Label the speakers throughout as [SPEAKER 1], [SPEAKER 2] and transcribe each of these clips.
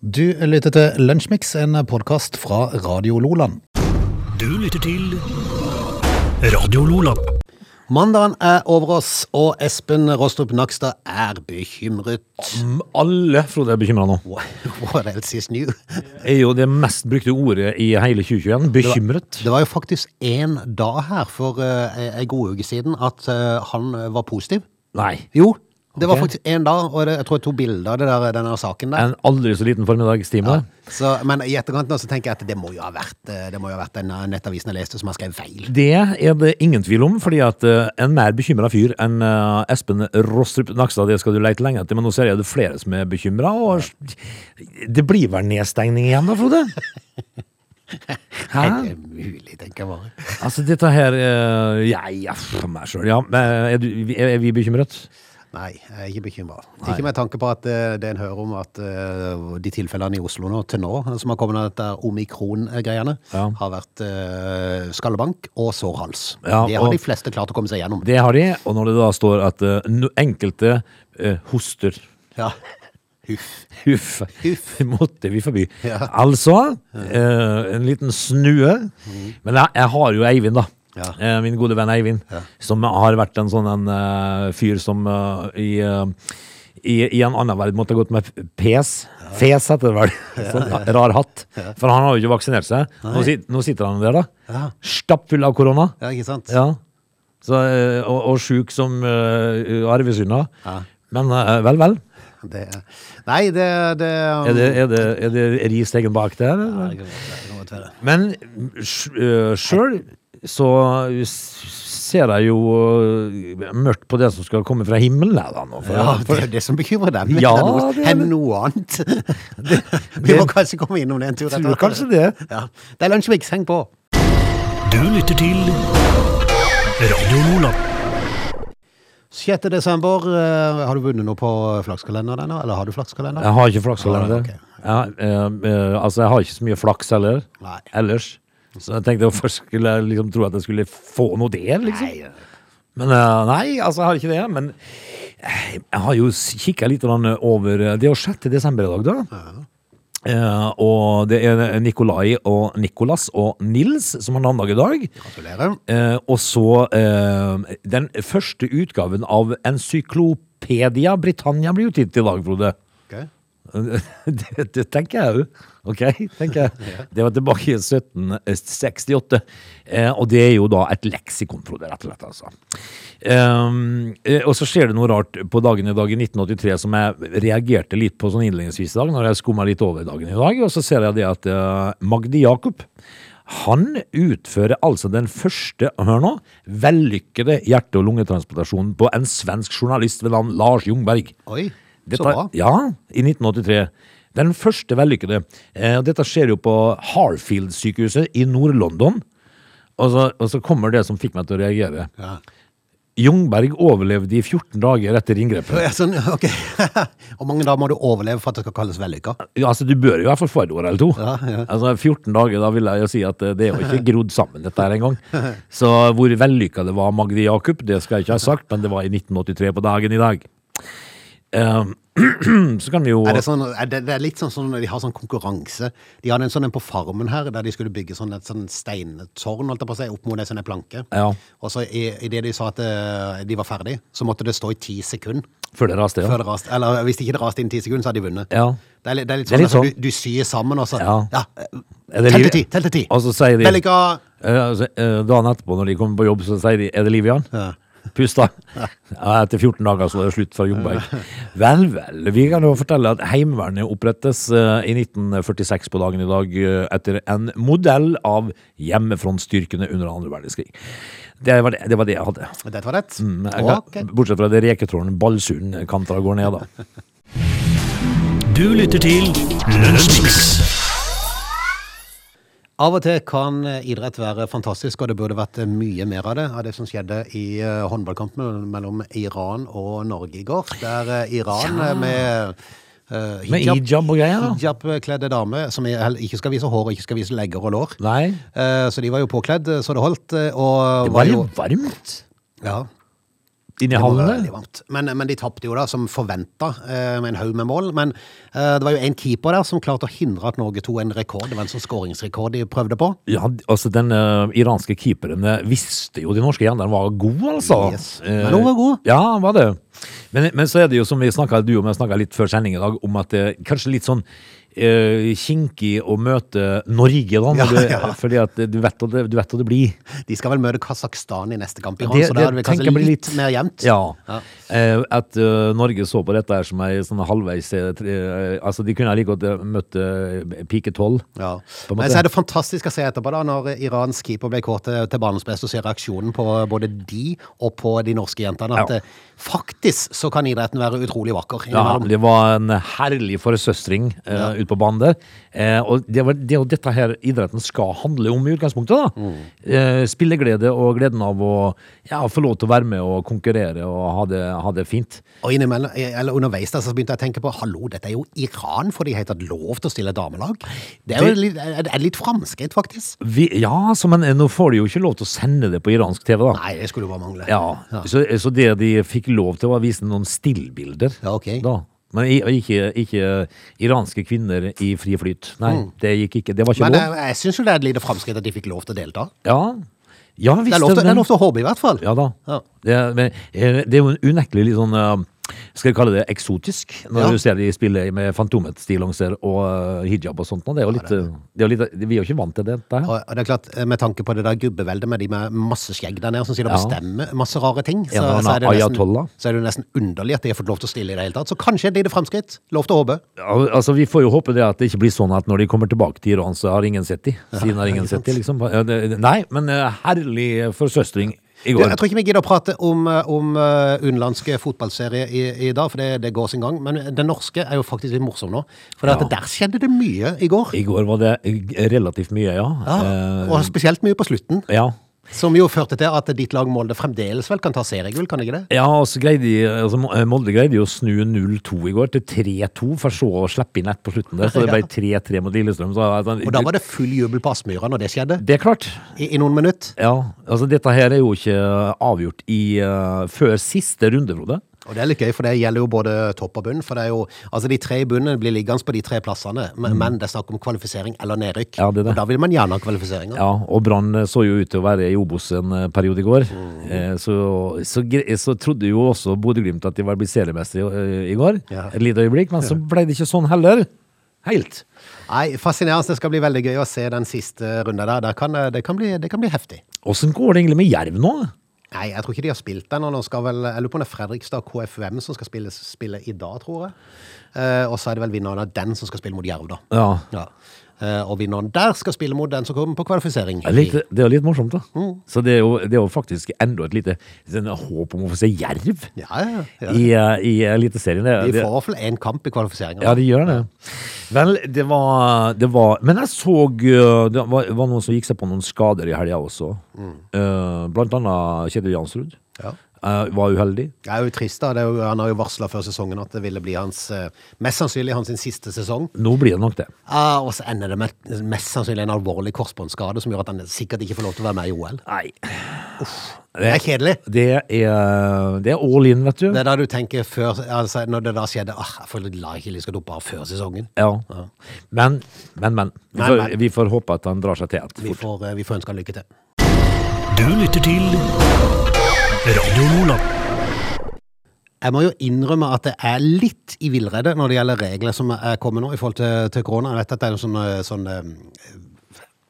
[SPEAKER 1] Du lytter til Lunsjmix, en podkast fra Radio Loland.
[SPEAKER 2] Du lytter til Radio Lola.
[SPEAKER 1] Mandagen er over oss, og Espen Rostrup Nakstad er bekymret.
[SPEAKER 3] Mm, Alle, Frode, er bekymra nå.
[SPEAKER 1] What else is new?
[SPEAKER 3] Er jo det mest brukte ordet i hele 2021. Bekymret.
[SPEAKER 1] Det var jo faktisk én dag her for eh, ei god uke siden at eh, han var positiv.
[SPEAKER 3] Nei.
[SPEAKER 1] Jo, det var
[SPEAKER 3] Ok.
[SPEAKER 1] faktisk én dag, og det, jeg tror jeg tok bilder av det der, denne saken der.
[SPEAKER 3] En aldri så liten formiddagstime.
[SPEAKER 1] Så, men i etterkant nå så tenker jeg at det må jo ha vært, eh, det må jo ha vært den eh, nettavisen jeg leste som har skrevet feil.
[SPEAKER 3] Det er det ingen tvil om, fordi at eh, en mer bekymra fyr enn eh, Espen Rostrup Nakstad, det skal du leite lenge etter, men nå ser jeg det er flere som er bekymra, og det blir vel nedstengning igjen da, Frode? Hæ?
[SPEAKER 1] Er det mulig, tenker jeg bare.
[SPEAKER 3] Altså, dette her eh, Ja, ja, for meg sjøl, ja. Eh, Er, du- er vi bekymret?
[SPEAKER 1] Nei, jeg er ikke bekymra. Ikke med tanke på at eh, det en hører om at eh, de tilfellene i Oslo nå, til nå, eh, som har kommet av dette omikron-greiene,
[SPEAKER 3] Ja.
[SPEAKER 1] har vært eh, skallebank og sårhals.
[SPEAKER 3] Ja,
[SPEAKER 1] det har
[SPEAKER 3] og-
[SPEAKER 1] de fleste klart å komme seg gjennom.
[SPEAKER 3] Det har de, og når det da står at eh, no- enkelte eh, hoster
[SPEAKER 1] Ja. Huff.
[SPEAKER 3] Huff,
[SPEAKER 1] Huff.
[SPEAKER 3] det måtte vi forby.
[SPEAKER 1] Ja.
[SPEAKER 3] Altså, eh, en liten snue. Men jeg, jeg har jo Eivind, da.
[SPEAKER 1] Mm. Ja.
[SPEAKER 3] Eh, min gode venn Eivind. Som har vært en sånn en eh, fyr som eh, i, eh, i, i en annen verden måtte ha gått med pes. Fes heter det vel. Sånn rar hatt. For han har jo ikke vaksinert seg. Nå, sit, nå sitter han der, da.
[SPEAKER 1] Ja.
[SPEAKER 3] Stappfull av korona.
[SPEAKER 1] Ja, ikke sant?
[SPEAKER 3] Ja. Så, eh, og, og sjuk som uh, arvesynder.
[SPEAKER 1] Ja.
[SPEAKER 3] Men eh, vel, vel.
[SPEAKER 1] Det, er- nei, det, det,
[SPEAKER 3] Er det, er det, er det Ris egen bak der?
[SPEAKER 1] Ja,
[SPEAKER 3] eller?
[SPEAKER 1] det kan godt være, det kan godt være.
[SPEAKER 3] Men eh, sjøl så s- ser jeg jo eh, mørkt på det som skal komme fra himmelen her, da. Nå, for,
[SPEAKER 1] Ja, det
[SPEAKER 3] for,
[SPEAKER 1] er jo det som bekymrer dem.
[SPEAKER 3] Ja,
[SPEAKER 1] det er noe,
[SPEAKER 3] det er det.
[SPEAKER 1] enn noe annet. Vi må kanskje komme innom det en tur.
[SPEAKER 3] jeg
[SPEAKER 1] etter
[SPEAKER 3] tror
[SPEAKER 1] hvert.
[SPEAKER 3] kanskje det.
[SPEAKER 1] Ja. Det er Lunsjmix, heng på.
[SPEAKER 2] Du lytter til Radio Lola.
[SPEAKER 1] 6. desember, eh, har du vunnet noe på flakskalenderen ennå? Eller har du flakskalender?
[SPEAKER 3] Jeg har ikke flaks
[SPEAKER 1] Ja,
[SPEAKER 3] heller.
[SPEAKER 1] ok.
[SPEAKER 3] Ja, eh, eh, altså, jeg har ikke så mye flaks heller.
[SPEAKER 1] Nei.
[SPEAKER 3] Ellers. Så jeg tenkte jeg først skulle jeg liksom tro at jeg skulle få noe der, liksom.
[SPEAKER 1] Nei, eh,
[SPEAKER 3] Men eh, nei, altså jeg har ikke det. Men eh, jeg har jo kikka litt grann over eh, Det er jo 6. desember i dag, da. Eh, og det er Nikolai og Nikolas og Nils som har navnedag i dag.
[SPEAKER 1] gratulerer.
[SPEAKER 3] Eh, og så eh, Den første utgaven av Encyklopedia Britannia blir utgitt i dag, Frode.
[SPEAKER 1] Ok.
[SPEAKER 3] Det, det tenker jeg jo. Ok, tenker jeg. Det var tilbake i 1768. Eh, og det er jo da et leksikon, Frode, rett og slett. altså. Ehm, eh, og så skjer det noe rart på dagen i dag i 1983 som jeg reagerte litt på sånn innledningsvis i dag, når jeg skumma litt over dagen i dag. Og så ser jeg det at eh, Magdi Jakob han utfører altså den første, hør nå, vellykkede hjerte- og lungetransplantasjonen på en svensk journalist ved navn Lars Ljungberg.
[SPEAKER 1] Oi,
[SPEAKER 3] Dette,
[SPEAKER 1] så bra.
[SPEAKER 3] Ja, i 1983. Den første vellykkede. Eh, og dette skjer jo på Harfield-sykehuset i Nord-London. Og, så- og så kommer det som fikk meg til å reagere.
[SPEAKER 1] Ja.
[SPEAKER 3] Jungberg overlevde i 14 dager etter inngrepet.
[SPEAKER 1] Ja, Sånn, ok. Og mange dager må du overleve for at det skal kalles vellykka.
[SPEAKER 3] Altså, Du bør jo i hvert fall få et år eller to.
[SPEAKER 1] Ja, ja.
[SPEAKER 3] Altså, 14 dager, da vil jeg jo si at eh, det er jo ikke grodd sammen, dette her engang. Så hvor vellykka det var, Magdi Jakob, det skal jeg ikke ha sagt, men det var i 1983 på dagen i dag. Eh, så kan vi jo
[SPEAKER 1] Er det, sånn, er det, det er litt sånn som når de har sånn konkurranse. De hadde en sånn en på farmen her, der de skulle bygge sånn et sånn steintårn holdt jeg på å si, opp mot en sånn en planke.
[SPEAKER 3] Ja.
[SPEAKER 1] Og så i, i det de sa at eh, de var ferdig, så måtte det stå i ti sekunder.
[SPEAKER 3] Før det raste, ja.
[SPEAKER 1] Før det raste, eller hvis ikke det raste innen ti sekunder, så hadde de vunnet.
[SPEAKER 3] Ja.
[SPEAKER 1] Det er, litt- det er litt
[SPEAKER 3] Det
[SPEAKER 1] sånn,
[SPEAKER 3] er litt
[SPEAKER 1] altså,
[SPEAKER 3] sånn.
[SPEAKER 1] Du, du syr sammen, og så
[SPEAKER 3] Ja.
[SPEAKER 1] ja.
[SPEAKER 3] Er det
[SPEAKER 1] Tell
[SPEAKER 3] liv-
[SPEAKER 1] til ti! Tell til ti!
[SPEAKER 3] Og så sier de
[SPEAKER 1] Vellykka!
[SPEAKER 3] Eh, altså, eh, Dagen etterpå, når de kommer på jobb, så sier de 'er det liv i han'?
[SPEAKER 1] Ja.
[SPEAKER 3] Pust, da. Ja, etter 14 dager så er det slutt for Jungberg. Vel, vel. Vi kan jo fortelle at Heimevernet opprettes eh, i 1946 på dagen i dag eh, etter en modell av hjemmefrontstyrkene under andre verdenskrig. Det var det, det, var det jeg hadde.
[SPEAKER 1] Dette var det.
[SPEAKER 3] Mm, jeg kan-
[SPEAKER 1] Ok.
[SPEAKER 3] Bortsett fra det reketråden Ballsund kantra går ned, da.
[SPEAKER 2] Du lytter til Lunsjmix.
[SPEAKER 1] Av og til kan eh, idrett være fantastisk, og det burde vært eh, mye mer av det. Av det som skjedde i eh, håndballkampen mellom Iran og Norge i går. Der eh, Iran eh, med eh,
[SPEAKER 3] Med hijab og greier, da.
[SPEAKER 1] hijab-kledde dame, som i- hell- ikke skal vise hår, ikke skal vise legger og lår.
[SPEAKER 3] Nei.
[SPEAKER 1] Eh, Så de var jo påkledd, eh, så det holdt. eh, Og
[SPEAKER 3] Det var
[SPEAKER 1] jo,
[SPEAKER 3] jo varmt.
[SPEAKER 1] ja.
[SPEAKER 3] Inni
[SPEAKER 1] Det var
[SPEAKER 3] hallen?
[SPEAKER 1] veldig varmt. Men, men de tapte jo da, som forventa, eh, med en haug med mål. Men eh, det var jo en keeper der som klarte å hindre at Norge tok en rekord. Det var en sånn skåringsrekord de prøvde på.
[SPEAKER 3] Ja, altså den eh, iranske keeperen eh, visste jo de norske jentene var gode, altså.
[SPEAKER 1] Yes.
[SPEAKER 3] Eh,
[SPEAKER 1] Men hun var god.
[SPEAKER 3] Ja, han var det. Men, men så er det jo som vi snakket, du og jeg snakket litt før sending i dag, om at det er kanskje litt sånn eh, kinkig å møte Norge da,
[SPEAKER 1] Ja,
[SPEAKER 3] når du,
[SPEAKER 1] ja.
[SPEAKER 3] fordi at du vet hva det, du vet hva det blir.
[SPEAKER 1] De skal vel møte Kasakhstan i neste kamp i hånd,
[SPEAKER 3] Det-
[SPEAKER 1] så
[SPEAKER 3] det
[SPEAKER 1] da hadde vi
[SPEAKER 3] tenker
[SPEAKER 1] kanskje
[SPEAKER 3] jeg blir
[SPEAKER 1] litt,
[SPEAKER 3] litt-
[SPEAKER 1] mer jevnt.
[SPEAKER 3] Ja.
[SPEAKER 1] Ja.
[SPEAKER 3] Eh, at eh, Norge så på dette her som ei sånn halvveis eh, tre, eh, Altså, de kunne like godt eh, møtt eh, pike tolv.
[SPEAKER 1] Ja.
[SPEAKER 3] På en
[SPEAKER 1] Men
[SPEAKER 3] måte.
[SPEAKER 1] så er det fantastisk å se etterpå, da, når Irans keeper ble kåret til, til banens beste, og se reaksjonen på både de og på de norske jentene. At
[SPEAKER 3] Ja.
[SPEAKER 1] eh, faktisk så kan idretten være utrolig vakker.
[SPEAKER 3] Ja,
[SPEAKER 1] innimellom.
[SPEAKER 3] det var en herlig forsøstring eh, ute på banen der. Eh, og det, var, det er jo dette her idretten skal handle om i utgangspunktet. da.
[SPEAKER 1] Mm.
[SPEAKER 3] Eh, spilleglede og gleden av å ja, få lov til å være med og konkurrere og ha det, ha det fint.
[SPEAKER 1] Og innimellom, eh, eller underveis der så begynte jeg å tenke på Hallo, dette er jo Iran, får de helt tatt lov til å stille damelag? Det er jo
[SPEAKER 3] Det-
[SPEAKER 1] litt, eh, er det litt framskritt, faktisk.
[SPEAKER 3] Vi, ja, så, men eh, nå får de jo ikke lov til å sende det på iransk TV, da.
[SPEAKER 1] Nei, det skulle jo bare mangle.
[SPEAKER 3] Ja, Så, eh, så det de fikk lov til, var å vise noen stillbilder.
[SPEAKER 1] Ja, ok.
[SPEAKER 3] da. Men i- ikke, ikke iranske kvinner i fri flyt. Nei, det gikk ikke. Det var ikke
[SPEAKER 1] Mm. Men eh,
[SPEAKER 3] lov.
[SPEAKER 1] jeg, jeg syns jo det er et lite framskritt at de fikk lov til å delta.
[SPEAKER 3] Ja, ja visst.
[SPEAKER 1] Det er lov til, det
[SPEAKER 3] men-
[SPEAKER 1] er lov til å håpe, i hvert fall.
[SPEAKER 3] Ja da.
[SPEAKER 1] Ja.
[SPEAKER 3] Det, er- men, eh, det er jo unektelig litt sånn eh, skal vi kalle det eksotisk, når
[SPEAKER 1] Ja.
[SPEAKER 3] du ser de spille med fantomet-stillongser og eh, hijab og sånt. nå. Det er jo litt, eh, det er jo litt Vi er jo ikke vant til det. det her.
[SPEAKER 1] Og og det er klart, eh, Med tanke på det der gubbeveldet med de med masse skjegg der nede som sitter og
[SPEAKER 3] Ja.
[SPEAKER 1] bestemmer masse rare ting, så,
[SPEAKER 3] En eller annen
[SPEAKER 1] så, er det
[SPEAKER 3] ayatollah.
[SPEAKER 1] nesten, så er det jo nesten underlig at de har fått lov til å stille i det hele tatt. Så kanskje et lite framskritt. Lov til å håpe.
[SPEAKER 3] Al- Altså, Vi får jo håpe det at det ikke blir sånn at når de kommer tilbake til Iran, så har ingen sett de. Siden har ingen sett de, liksom. Ja, det- Nei, men eh, herlig forsøstring i
[SPEAKER 1] Du,
[SPEAKER 3] går.
[SPEAKER 1] jeg tror ikke vi gidder å prate om, eh, om eh, utenlandske fotballserier i, i dag, for det, det går sin gang. Men den norske er jo faktisk litt morsom nå. For at
[SPEAKER 3] Ja.
[SPEAKER 1] der skjedde det mye i går.
[SPEAKER 3] I går var det eh, relativt mye, ja.
[SPEAKER 1] Ja,
[SPEAKER 3] Eh,
[SPEAKER 1] og spesielt mye på slutten.
[SPEAKER 3] ja.
[SPEAKER 1] Som jo førte til at ditt lag Molde fremdeles vel kan ta seriegull, kan det ikke det?
[SPEAKER 3] Ja, og så greide de, altså Mo- Molde greide jo å snu 0-2 i går til 3-2, for så å slippe inn ett på slutten der. Så det ble 3-3 mot Lillestrøm. Så, altså,
[SPEAKER 1] Og da var det full jubel på Aspmyra når det skjedde,
[SPEAKER 3] det er klart.
[SPEAKER 1] i, i noen minutter.
[SPEAKER 3] Ja, altså Dette her er jo ikke avgjort i, eh, før siste runde, Frode.
[SPEAKER 1] Og det er litt gøy, for det gjelder jo både topp og bunn. For det er jo, altså de tre i bunnen blir liggende på de tre plassene, men, men det er snakk om kvalifisering eller nedrykk.
[SPEAKER 3] Mm. Ja, det er det.
[SPEAKER 1] Og da vil man gjerne ha kvalifiseringer.
[SPEAKER 3] Ja, og Brann eh, så jo ut til å være i Obos en eh, periode i går.
[SPEAKER 1] Mm.
[SPEAKER 3] Eh, Så, så, gre- så trodde jo også Bodø-Glimt at de var blitt seriemestere i, eh, i går,
[SPEAKER 1] Ja.
[SPEAKER 3] et lite øyeblikk, men så ble det ikke sånn heller. Helt.
[SPEAKER 1] Nei, fascinerende. Det skal bli veldig gøy å se den siste runden der. Det kan, eh, det kan, bli, det kan bli heftig.
[SPEAKER 3] Åssen går det egentlig med Jerv nå?
[SPEAKER 1] Nei, jeg tror ikke de har spilt den. og Nå skal vel, jeg lurer på om det er Fredrikstad KFUM som skal spille, spille i dag, tror jeg. Eh, og så er det vel vinneren av den som skal spille mot Jerv, da.
[SPEAKER 3] Ja,
[SPEAKER 1] Ja. Eh, og vinneren der skal spille mot den som kommer på kvalifisering.
[SPEAKER 3] Jeg likte, det er jo litt morsomt, da.
[SPEAKER 1] Mm.
[SPEAKER 3] Så det er, jo, det er jo faktisk enda et lite sånn håp om å få se jerv
[SPEAKER 1] Ja, ja, ja.
[SPEAKER 3] i, eh, i
[SPEAKER 1] De
[SPEAKER 3] Eliteserien. Det-
[SPEAKER 1] får i
[SPEAKER 3] det-
[SPEAKER 1] hvert fall én kamp i kvalifiseringa.
[SPEAKER 3] Ja, de gjør det. Vel, det var, det var Men jeg så eh, Det var, var noen som gikk seg på noen skader i helga også.
[SPEAKER 1] Mm.
[SPEAKER 3] Eh, blant annet Kjetil Jansrud.
[SPEAKER 1] Ja.
[SPEAKER 3] Eh, var uheldig.
[SPEAKER 1] Det er jo trist, da. Det er jo, han har jo varsla før sesongen at det ville bli hans eh, mest sannsynlig hans sin siste sesong.
[SPEAKER 3] Nå blir det nok det.
[SPEAKER 1] Ah, og så ender det med mest sannsynlig en alvorlig korsbåndskade som gjør at han sikkert ikke får lov til å være med i OL.
[SPEAKER 3] Nei.
[SPEAKER 1] Det er kjedelig.
[SPEAKER 3] Det er, det er all in, vet du.
[SPEAKER 1] Det er da du tenker før, altså når det da skjedde ah, Jeg får la ikke de skal duppe av før sesongen.
[SPEAKER 3] Ja. Men, men, men. Vi
[SPEAKER 1] Men,
[SPEAKER 3] får,
[SPEAKER 1] men.
[SPEAKER 3] vi får håpe at han drar seg til igjen.
[SPEAKER 1] Vi får, eh, vi får ønske han lykke til.
[SPEAKER 2] Du lytter til Radio Lola.
[SPEAKER 1] Jeg må jo innrømme at jeg er litt i villrede når det gjelder regler som er kommet nå i forhold til, til korona. Jeg vet at det er en sånn, eh, sånn eh,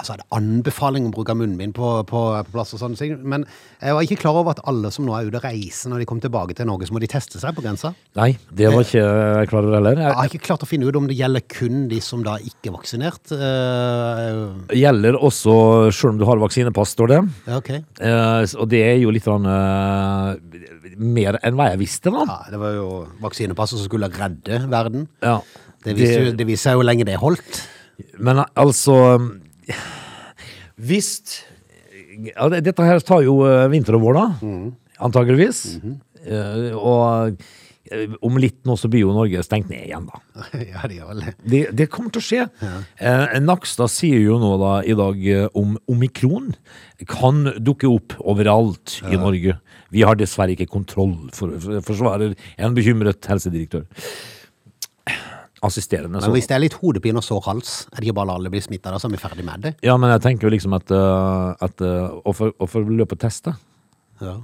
[SPEAKER 1] altså er det anbefaling om bruk av munnbind på, på, på plass og sånne ting. Men jeg var ikke klar over at alle som nå er ute og reiser når de kommer tilbake til Norge, så må de teste seg på grensa.
[SPEAKER 3] Nei, det var ikke jeg klar over heller.
[SPEAKER 1] Jeg
[SPEAKER 3] Jeg-
[SPEAKER 1] har ikke klart å finne ut om det gjelder kun de som da ikke er vaksinert. Eh,
[SPEAKER 3] Gjelder også selv om du har vaksinepass, står det.
[SPEAKER 1] ja, ok.
[SPEAKER 3] Eh, s- og det er jo litt sånn, eh, mer enn hva jeg visste, da.
[SPEAKER 1] Ja, det var jo vaksinepasset som skulle redde verden.
[SPEAKER 3] Ja.
[SPEAKER 1] Det viser, jo, det viser jo hvor lenge det holdt.
[SPEAKER 3] Men eh, altså eh, Hvis ja, det-
[SPEAKER 1] Mm. Mm-hmm.
[SPEAKER 3] Dette her tar jo eh, vinter og vår, da. Antakeligvis. Eh, og eh, om litt nå så blir jo Norge stengt ned igjen, da.
[SPEAKER 1] ja, det gjør vel det.
[SPEAKER 3] Det, det kommer til å skje. Eh, Nakstad sier jo nå da i dag eh, om omikron kan dukke opp overalt i Norge. Vi har dessverre ikke kontroll, for, for, forsvarer en bekymret helsedirektør. Assisterende.
[SPEAKER 1] Men
[SPEAKER 3] Så.
[SPEAKER 1] hvis det er litt hodepine og sår hals, er det ikke bare alle blir smitta da, så er vi ferdig med det?
[SPEAKER 3] Ja, men jeg tenker jo liksom at, eh, at eh, å få å få løpe og teste
[SPEAKER 1] Ja.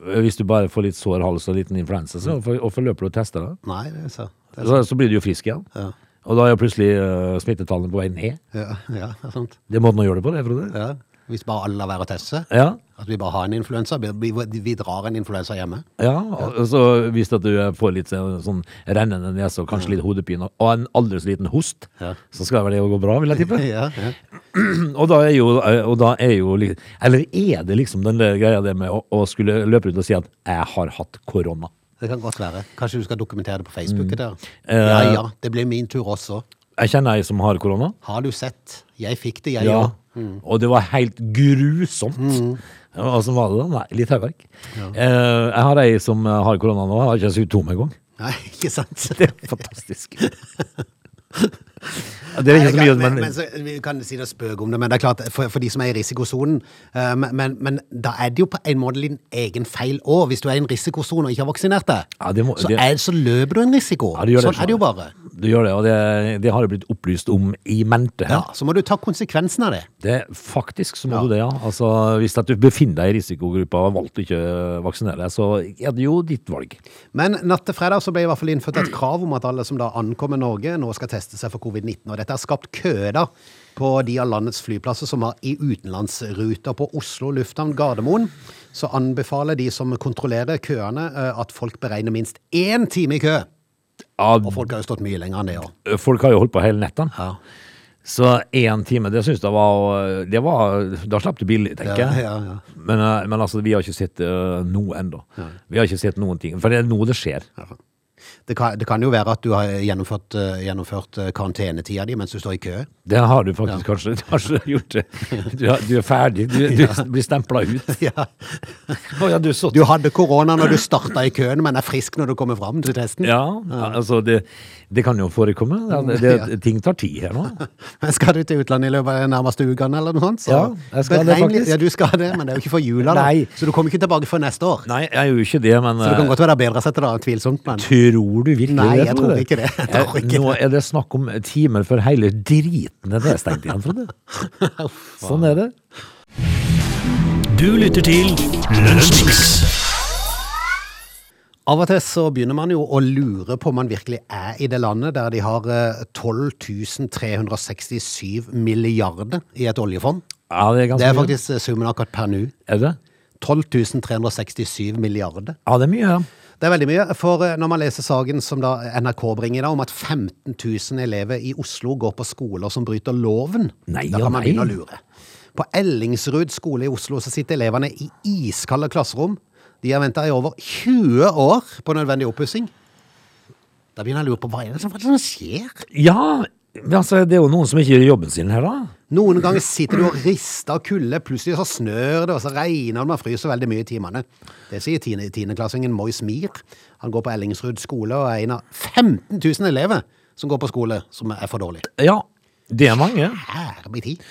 [SPEAKER 3] Eh, Hvis du bare får litt sår hals og liten influensa, så hvorfor hvorfor løper du og tester da?
[SPEAKER 1] Nei, det er så. Mm. Det er,
[SPEAKER 3] Så, så blir du jo frisk igjen.
[SPEAKER 1] ja.
[SPEAKER 3] Og da er jo plutselig eh, smittetallene på vei ned.
[SPEAKER 1] Ja, ja, det er sant.
[SPEAKER 3] Det er måten å gjøre det på, det, Frode.
[SPEAKER 1] Ja. Hvis bare alle lar være å teste seg,
[SPEAKER 3] Ja.
[SPEAKER 1] at vi bare har en influensa, vi, vi, vi drar en influensa hjemme.
[SPEAKER 3] Ja, og så hvis at du får litt sånn sånn rennende nese og kanskje litt hodepine og en aldri så liten host,
[SPEAKER 1] Ja.
[SPEAKER 3] så skal vel det gå bra, vil jeg tippe.
[SPEAKER 1] Ja, ja.
[SPEAKER 3] Og da er jo, og da er jo li- Eller er det liksom den der greia det med å, å skulle løpe ut og si at 'jeg har hatt korona'?
[SPEAKER 1] Det kan godt være. Kanskje du skal dokumentere det på Facebook? Der.
[SPEAKER 3] Eh,
[SPEAKER 1] Ja, ja. Det blir min tur også.
[SPEAKER 3] Jeg kjenner ei som har korona.
[SPEAKER 1] Har du sett? Jeg fikk det, jeg
[SPEAKER 3] Ja.
[SPEAKER 1] òg.
[SPEAKER 3] Mm. Og det var helt grusomt. Ja, Og så var det da? Nei, litt hauverk. Eh, jeg har ei som eh, har korona nå, jeg har ikke symptomer engang.
[SPEAKER 1] Nei, ikke sant?
[SPEAKER 3] Det er fantastisk. det er ikke så mye,
[SPEAKER 1] men,
[SPEAKER 3] men
[SPEAKER 1] men så, Vi kan si det spøk om det, men det er klart, for, for de som er i risikosonen eh, men, men, men da er det jo på en måte din egen feil òg. Hvis du er i en risikosone og ikke har vaksinert deg,
[SPEAKER 3] Ja, det må-
[SPEAKER 1] så,
[SPEAKER 3] det-
[SPEAKER 1] er, så løper du en risiko.
[SPEAKER 3] Ja, det gjør det,
[SPEAKER 1] sånn er det jo bare.
[SPEAKER 3] Du gjør det, og det, det har det blitt opplyst om i mente.
[SPEAKER 1] Ja,
[SPEAKER 3] her.
[SPEAKER 1] så må du ta konsekvensen av det.
[SPEAKER 3] Det, faktisk så må du det, ja. Altså, hvis at du befinner deg i risikogruppa og har valgt å ikke vaksinere deg, så er det jo ditt valg.
[SPEAKER 1] Men natt til fredag så ble i hvert fall innført et krav om at alle som da ankommer Norge, nå skal teste seg for covid-19. Og dette har skapt køer da på de av landets flyplasser som har i utenlandsruter. På Oslo lufthavn Gardermoen så anbefaler de som kontrollerer køene, eh, at folk beregner minst én time i kø.
[SPEAKER 3] Ja,
[SPEAKER 1] Og folk har jo stått mye lenger enn det òg.
[SPEAKER 3] folk har jo holdt på hele netten.
[SPEAKER 1] Ja.
[SPEAKER 3] Så én time, det syns jeg var, det var Da slapp du billig, tenker
[SPEAKER 1] Ja,
[SPEAKER 3] jeg.
[SPEAKER 1] ja, ja.
[SPEAKER 3] Men, eh, men altså, vi har ikke sett eh, noe ennå. Vi har ikke sett noen ting. For det er nå det skjer.
[SPEAKER 1] Det, kan, det kan jo være at du har gjennomført, eh, gjennomført eh, karantenetida di mens du står i kø.
[SPEAKER 3] Det har du faktisk kanskje. Du har ikke gjort det. Du, har, du er ferdig. Du, du blir stempla ut.
[SPEAKER 1] Ja.
[SPEAKER 3] Å ja, du så
[SPEAKER 1] Du hadde korona når du starta i køen, men er frisk når du kommer fram til testen.
[SPEAKER 3] Ja, altså det, det kan jo forekomme. Ja,
[SPEAKER 1] Mm.
[SPEAKER 3] det, det, ting tar tid her nå.
[SPEAKER 1] Men skal du til utlandet i løpet av de nærmeste ukene eller noe sånt? Så
[SPEAKER 3] Ja, jeg skal det,
[SPEAKER 1] beregn
[SPEAKER 3] faktisk.
[SPEAKER 1] litt- Ja, du skal det, men det er jo ikke for jula, da.
[SPEAKER 3] Nei.
[SPEAKER 1] Så du kommer ikke tilbake før neste år.
[SPEAKER 3] Nei, jeg gjør jo ikke det, men
[SPEAKER 1] Så det kan
[SPEAKER 3] eh,
[SPEAKER 1] godt være det er bedre å sette det av, tvilsomt, men
[SPEAKER 3] Tror du virkelig
[SPEAKER 1] Nei,
[SPEAKER 3] det?
[SPEAKER 1] jeg
[SPEAKER 3] Frode?
[SPEAKER 1] tror ikke det. Jeg tror
[SPEAKER 3] Eh,
[SPEAKER 1] ikke
[SPEAKER 3] Nå er det snakk om timer før hele driten er nedstengt igjen, Frode. Sånn er det.
[SPEAKER 2] Du lytter til Lunsjmix.
[SPEAKER 1] Av og til så begynner man jo å lure på om man virkelig er i det landet der de har eh, 12 367 milliarder i et oljefond.
[SPEAKER 3] Altså, Ja, det er ganske
[SPEAKER 1] Det er
[SPEAKER 3] mye.
[SPEAKER 1] faktisk eh, summen akkurat per nå.
[SPEAKER 3] Er det?
[SPEAKER 1] 12 367 milliarder.
[SPEAKER 3] Ja, det er mye. Ja.
[SPEAKER 1] Det er veldig mye, for eh, når man leser saken som da NRK bringer i dag, om at 15 000 elever i Oslo går på skoler som bryter loven,
[SPEAKER 3] Nei
[SPEAKER 1] da
[SPEAKER 3] og
[SPEAKER 1] kan man
[SPEAKER 3] nei.
[SPEAKER 1] begynne å lure. På Ellingsrud skole i Oslo så sitter elevene i iskalde klasserom. De har venta i over 20 år på nødvendig oppussing. Da begynner jeg å lure på hva er det som, hva er det som skjer?
[SPEAKER 3] ja, men altså, det er jo noen som ikke gjør jobben sin her, da.
[SPEAKER 1] Noen ganger sitter du og rister av kulde, plutselig så snør det, og så regner det, man fryser veldig mye i timene. Det sier tiende- tiendeklassingen Mois Mir. Han går på Ellingsrud skole og er en av 15 000 elever som går på skole som er for dårlig.
[SPEAKER 3] Ja, det er mange.
[SPEAKER 1] Herre min tid.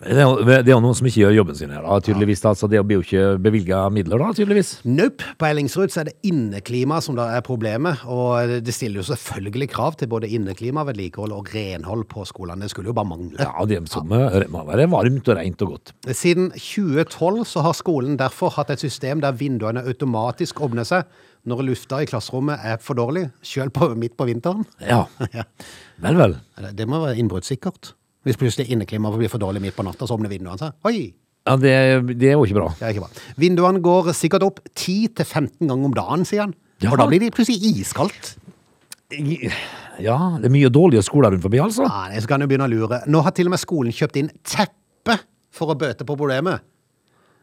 [SPEAKER 3] Det er, jo- det er jo noen som ikke gjør jobben sin her, da, tydeligvis. da. Altså, det blir jo ikke bevilga midler, da, tydeligvis.
[SPEAKER 1] Nope. På Ellingsrud så er det inneklima som da er problemet, og det stiller jo selvfølgelig krav til både inneklima, vedlikehold og renhold på skolene. Det skulle jo bare mangle.
[SPEAKER 3] Ja, det må- må være varmt og rent og godt.
[SPEAKER 1] Siden 2012 så har skolen derfor hatt et system der vinduene automatisk åpner seg når lufta i klasserommet er for dårlig, sjøl midt på vinteren.
[SPEAKER 3] Ja.
[SPEAKER 1] Ja.
[SPEAKER 3] Vel, vel.
[SPEAKER 1] Det det må være innbruddssikkert. Hvis plutselig inneklimaet blir for dårlig midt på natta, så åpner vinduene seg. Oi!
[SPEAKER 3] Ja, det, det er jo ikke bra.
[SPEAKER 1] Det er ikke bra. Vinduene går sikkert opp 10-15 ganger om dagen, sier han.
[SPEAKER 3] Ja.
[SPEAKER 1] Og da blir de plutselig iskaldt.
[SPEAKER 3] Ja, det er mye dårlige skoler rundt forbi, altså.
[SPEAKER 1] Nei, så kan du begynne å lure. Nå har til og med skolen kjøpt inn teppe for å bøte på problemet.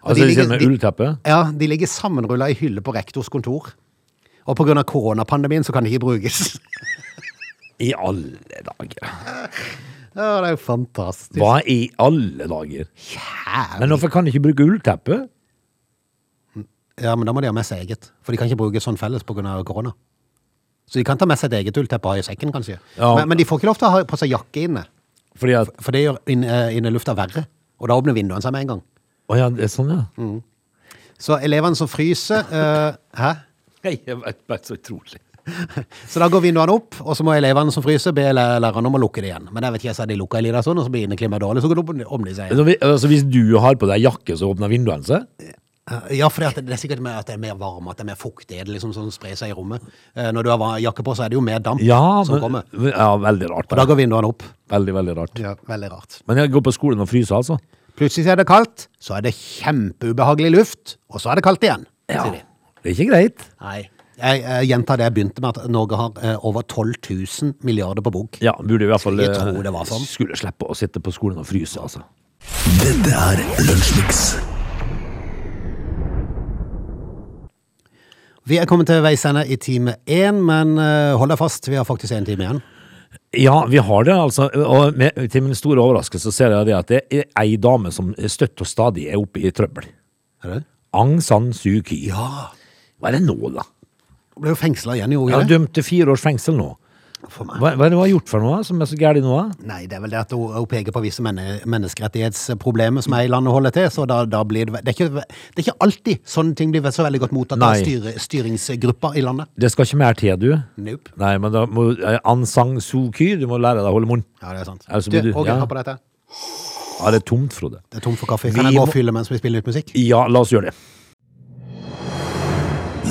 [SPEAKER 1] Og
[SPEAKER 3] Altså,
[SPEAKER 1] de
[SPEAKER 3] de
[SPEAKER 1] ligger-
[SPEAKER 3] med
[SPEAKER 1] de-
[SPEAKER 3] ullteppe.
[SPEAKER 1] Ja, de ligger sammenrulla i hylle på rektors kontor. Og pga. koronapandemien så kan de ikke brukes.
[SPEAKER 3] I alle dager.
[SPEAKER 1] Ja, det er jo fantastisk.
[SPEAKER 3] Hva i alle dager?
[SPEAKER 1] Kjære.
[SPEAKER 3] Men hvorfor kan de ikke bruke ullteppe?
[SPEAKER 1] Ja, men da må de ha med seg eget. For de kan ikke bruke sånn felles pga. korona. Så de kan ta med seg et eget ullteppe og ha i sekken, kanskje.
[SPEAKER 3] Ja.
[SPEAKER 1] Men, men de får ikke lov til å ha på seg jakke inne,
[SPEAKER 3] Fordi at
[SPEAKER 1] for det gjør inn- eh, innelufta verre. Og da åpner vinduene seg med en gang.
[SPEAKER 3] Å ja, det er sånn, ja.
[SPEAKER 1] Så elevene som fryser eh, Hæ?
[SPEAKER 3] Nei, jeg vet bare så utrolig.
[SPEAKER 1] Så da går vinduene opp, og så må elevene som fryser, be læ- læreren om å lukke det igjen. Men jeg vet ikke, jeg sa de lukka en liten stund, sånn, og så blir inneklimaet dårlig, så går det opp om de seg igjen.
[SPEAKER 3] Altså, vi- altså, hvis du har på deg jakke, så åpner vinduene seg?
[SPEAKER 1] Eh, Ja, for det er sikkert mer, at det er mer varme, at det er mer fuktig, det er liksom sånn sprer seg i rommet. Eh, Når du har va- jakke på, så er det jo mer damp
[SPEAKER 3] Ja,
[SPEAKER 1] som
[SPEAKER 3] men,
[SPEAKER 1] kommer.
[SPEAKER 3] ja veldig rart.
[SPEAKER 1] Og da
[SPEAKER 3] Da.
[SPEAKER 1] går vinduene opp.
[SPEAKER 3] Veldig, veldig rart.
[SPEAKER 1] Ja, veldig rart.
[SPEAKER 3] Men jeg går på skolen og fryser, altså.
[SPEAKER 1] Plutselig er det kaldt, så er det kjempeubehagelig luft, og så er det kaldt igjen. sier de.
[SPEAKER 3] Det er ikke greit.
[SPEAKER 1] Nei. Jeg, jeg gjentar det jeg begynte med, at Norge har eh, over 12 000 milliarder på bok.
[SPEAKER 3] Ja, burde i hvert fall
[SPEAKER 1] Skulle
[SPEAKER 3] eh,
[SPEAKER 1] tro det var sånn.
[SPEAKER 3] Skulle slippe å sitte på skolen og fryse, altså.
[SPEAKER 2] Dette er Lunsjmix.
[SPEAKER 1] Vi er kommet til veis ende i time én, men eh, hold deg fast, vi har faktisk én time igjen.
[SPEAKER 3] Ja, vi har det, altså. Og med, til min store overraskelse ser jeg det at det er ei dame som støtt og stadig er oppe i trøbbel.
[SPEAKER 1] Er det?
[SPEAKER 3] Aung San Suu Kyi.
[SPEAKER 1] Ja.
[SPEAKER 3] Hva er det nå, da?
[SPEAKER 1] Hun ble jo fengsla igjen, gjorde
[SPEAKER 3] Jeg
[SPEAKER 1] hun
[SPEAKER 3] har
[SPEAKER 1] ikke det?
[SPEAKER 3] dømt til fire års fengsel nå.
[SPEAKER 1] For meg.
[SPEAKER 3] Hva, hva er det hun har gjort for noe som er så gærent nå? da?
[SPEAKER 1] Nei, det er vel det at hun, hun peker på visse menne, menneskerettighetsproblemer som er i landet holder til, så da, da blir det, det, er ikke, det er ikke alltid sånne ting blir så veldig godt mottatt av
[SPEAKER 3] Nei.
[SPEAKER 1] styre, styringsgrupper i landet.
[SPEAKER 3] Det skal ikke mer til, du.
[SPEAKER 1] Nope.
[SPEAKER 3] Nei, men da må eh, Aung San Suu Kyi, du må lære deg å holde munn.
[SPEAKER 1] Ja, det er sant.
[SPEAKER 3] Altså,
[SPEAKER 1] du,
[SPEAKER 3] må du-
[SPEAKER 1] Åge,
[SPEAKER 3] ja.
[SPEAKER 1] ta på dette.
[SPEAKER 3] Ja, det er tomt, Frode.
[SPEAKER 1] Det er tom for kaffe.
[SPEAKER 3] Vi
[SPEAKER 1] Kan jeg gå
[SPEAKER 3] må-
[SPEAKER 1] og fylle mens vi spiller litt musikk?
[SPEAKER 3] Ja, la oss gjøre det.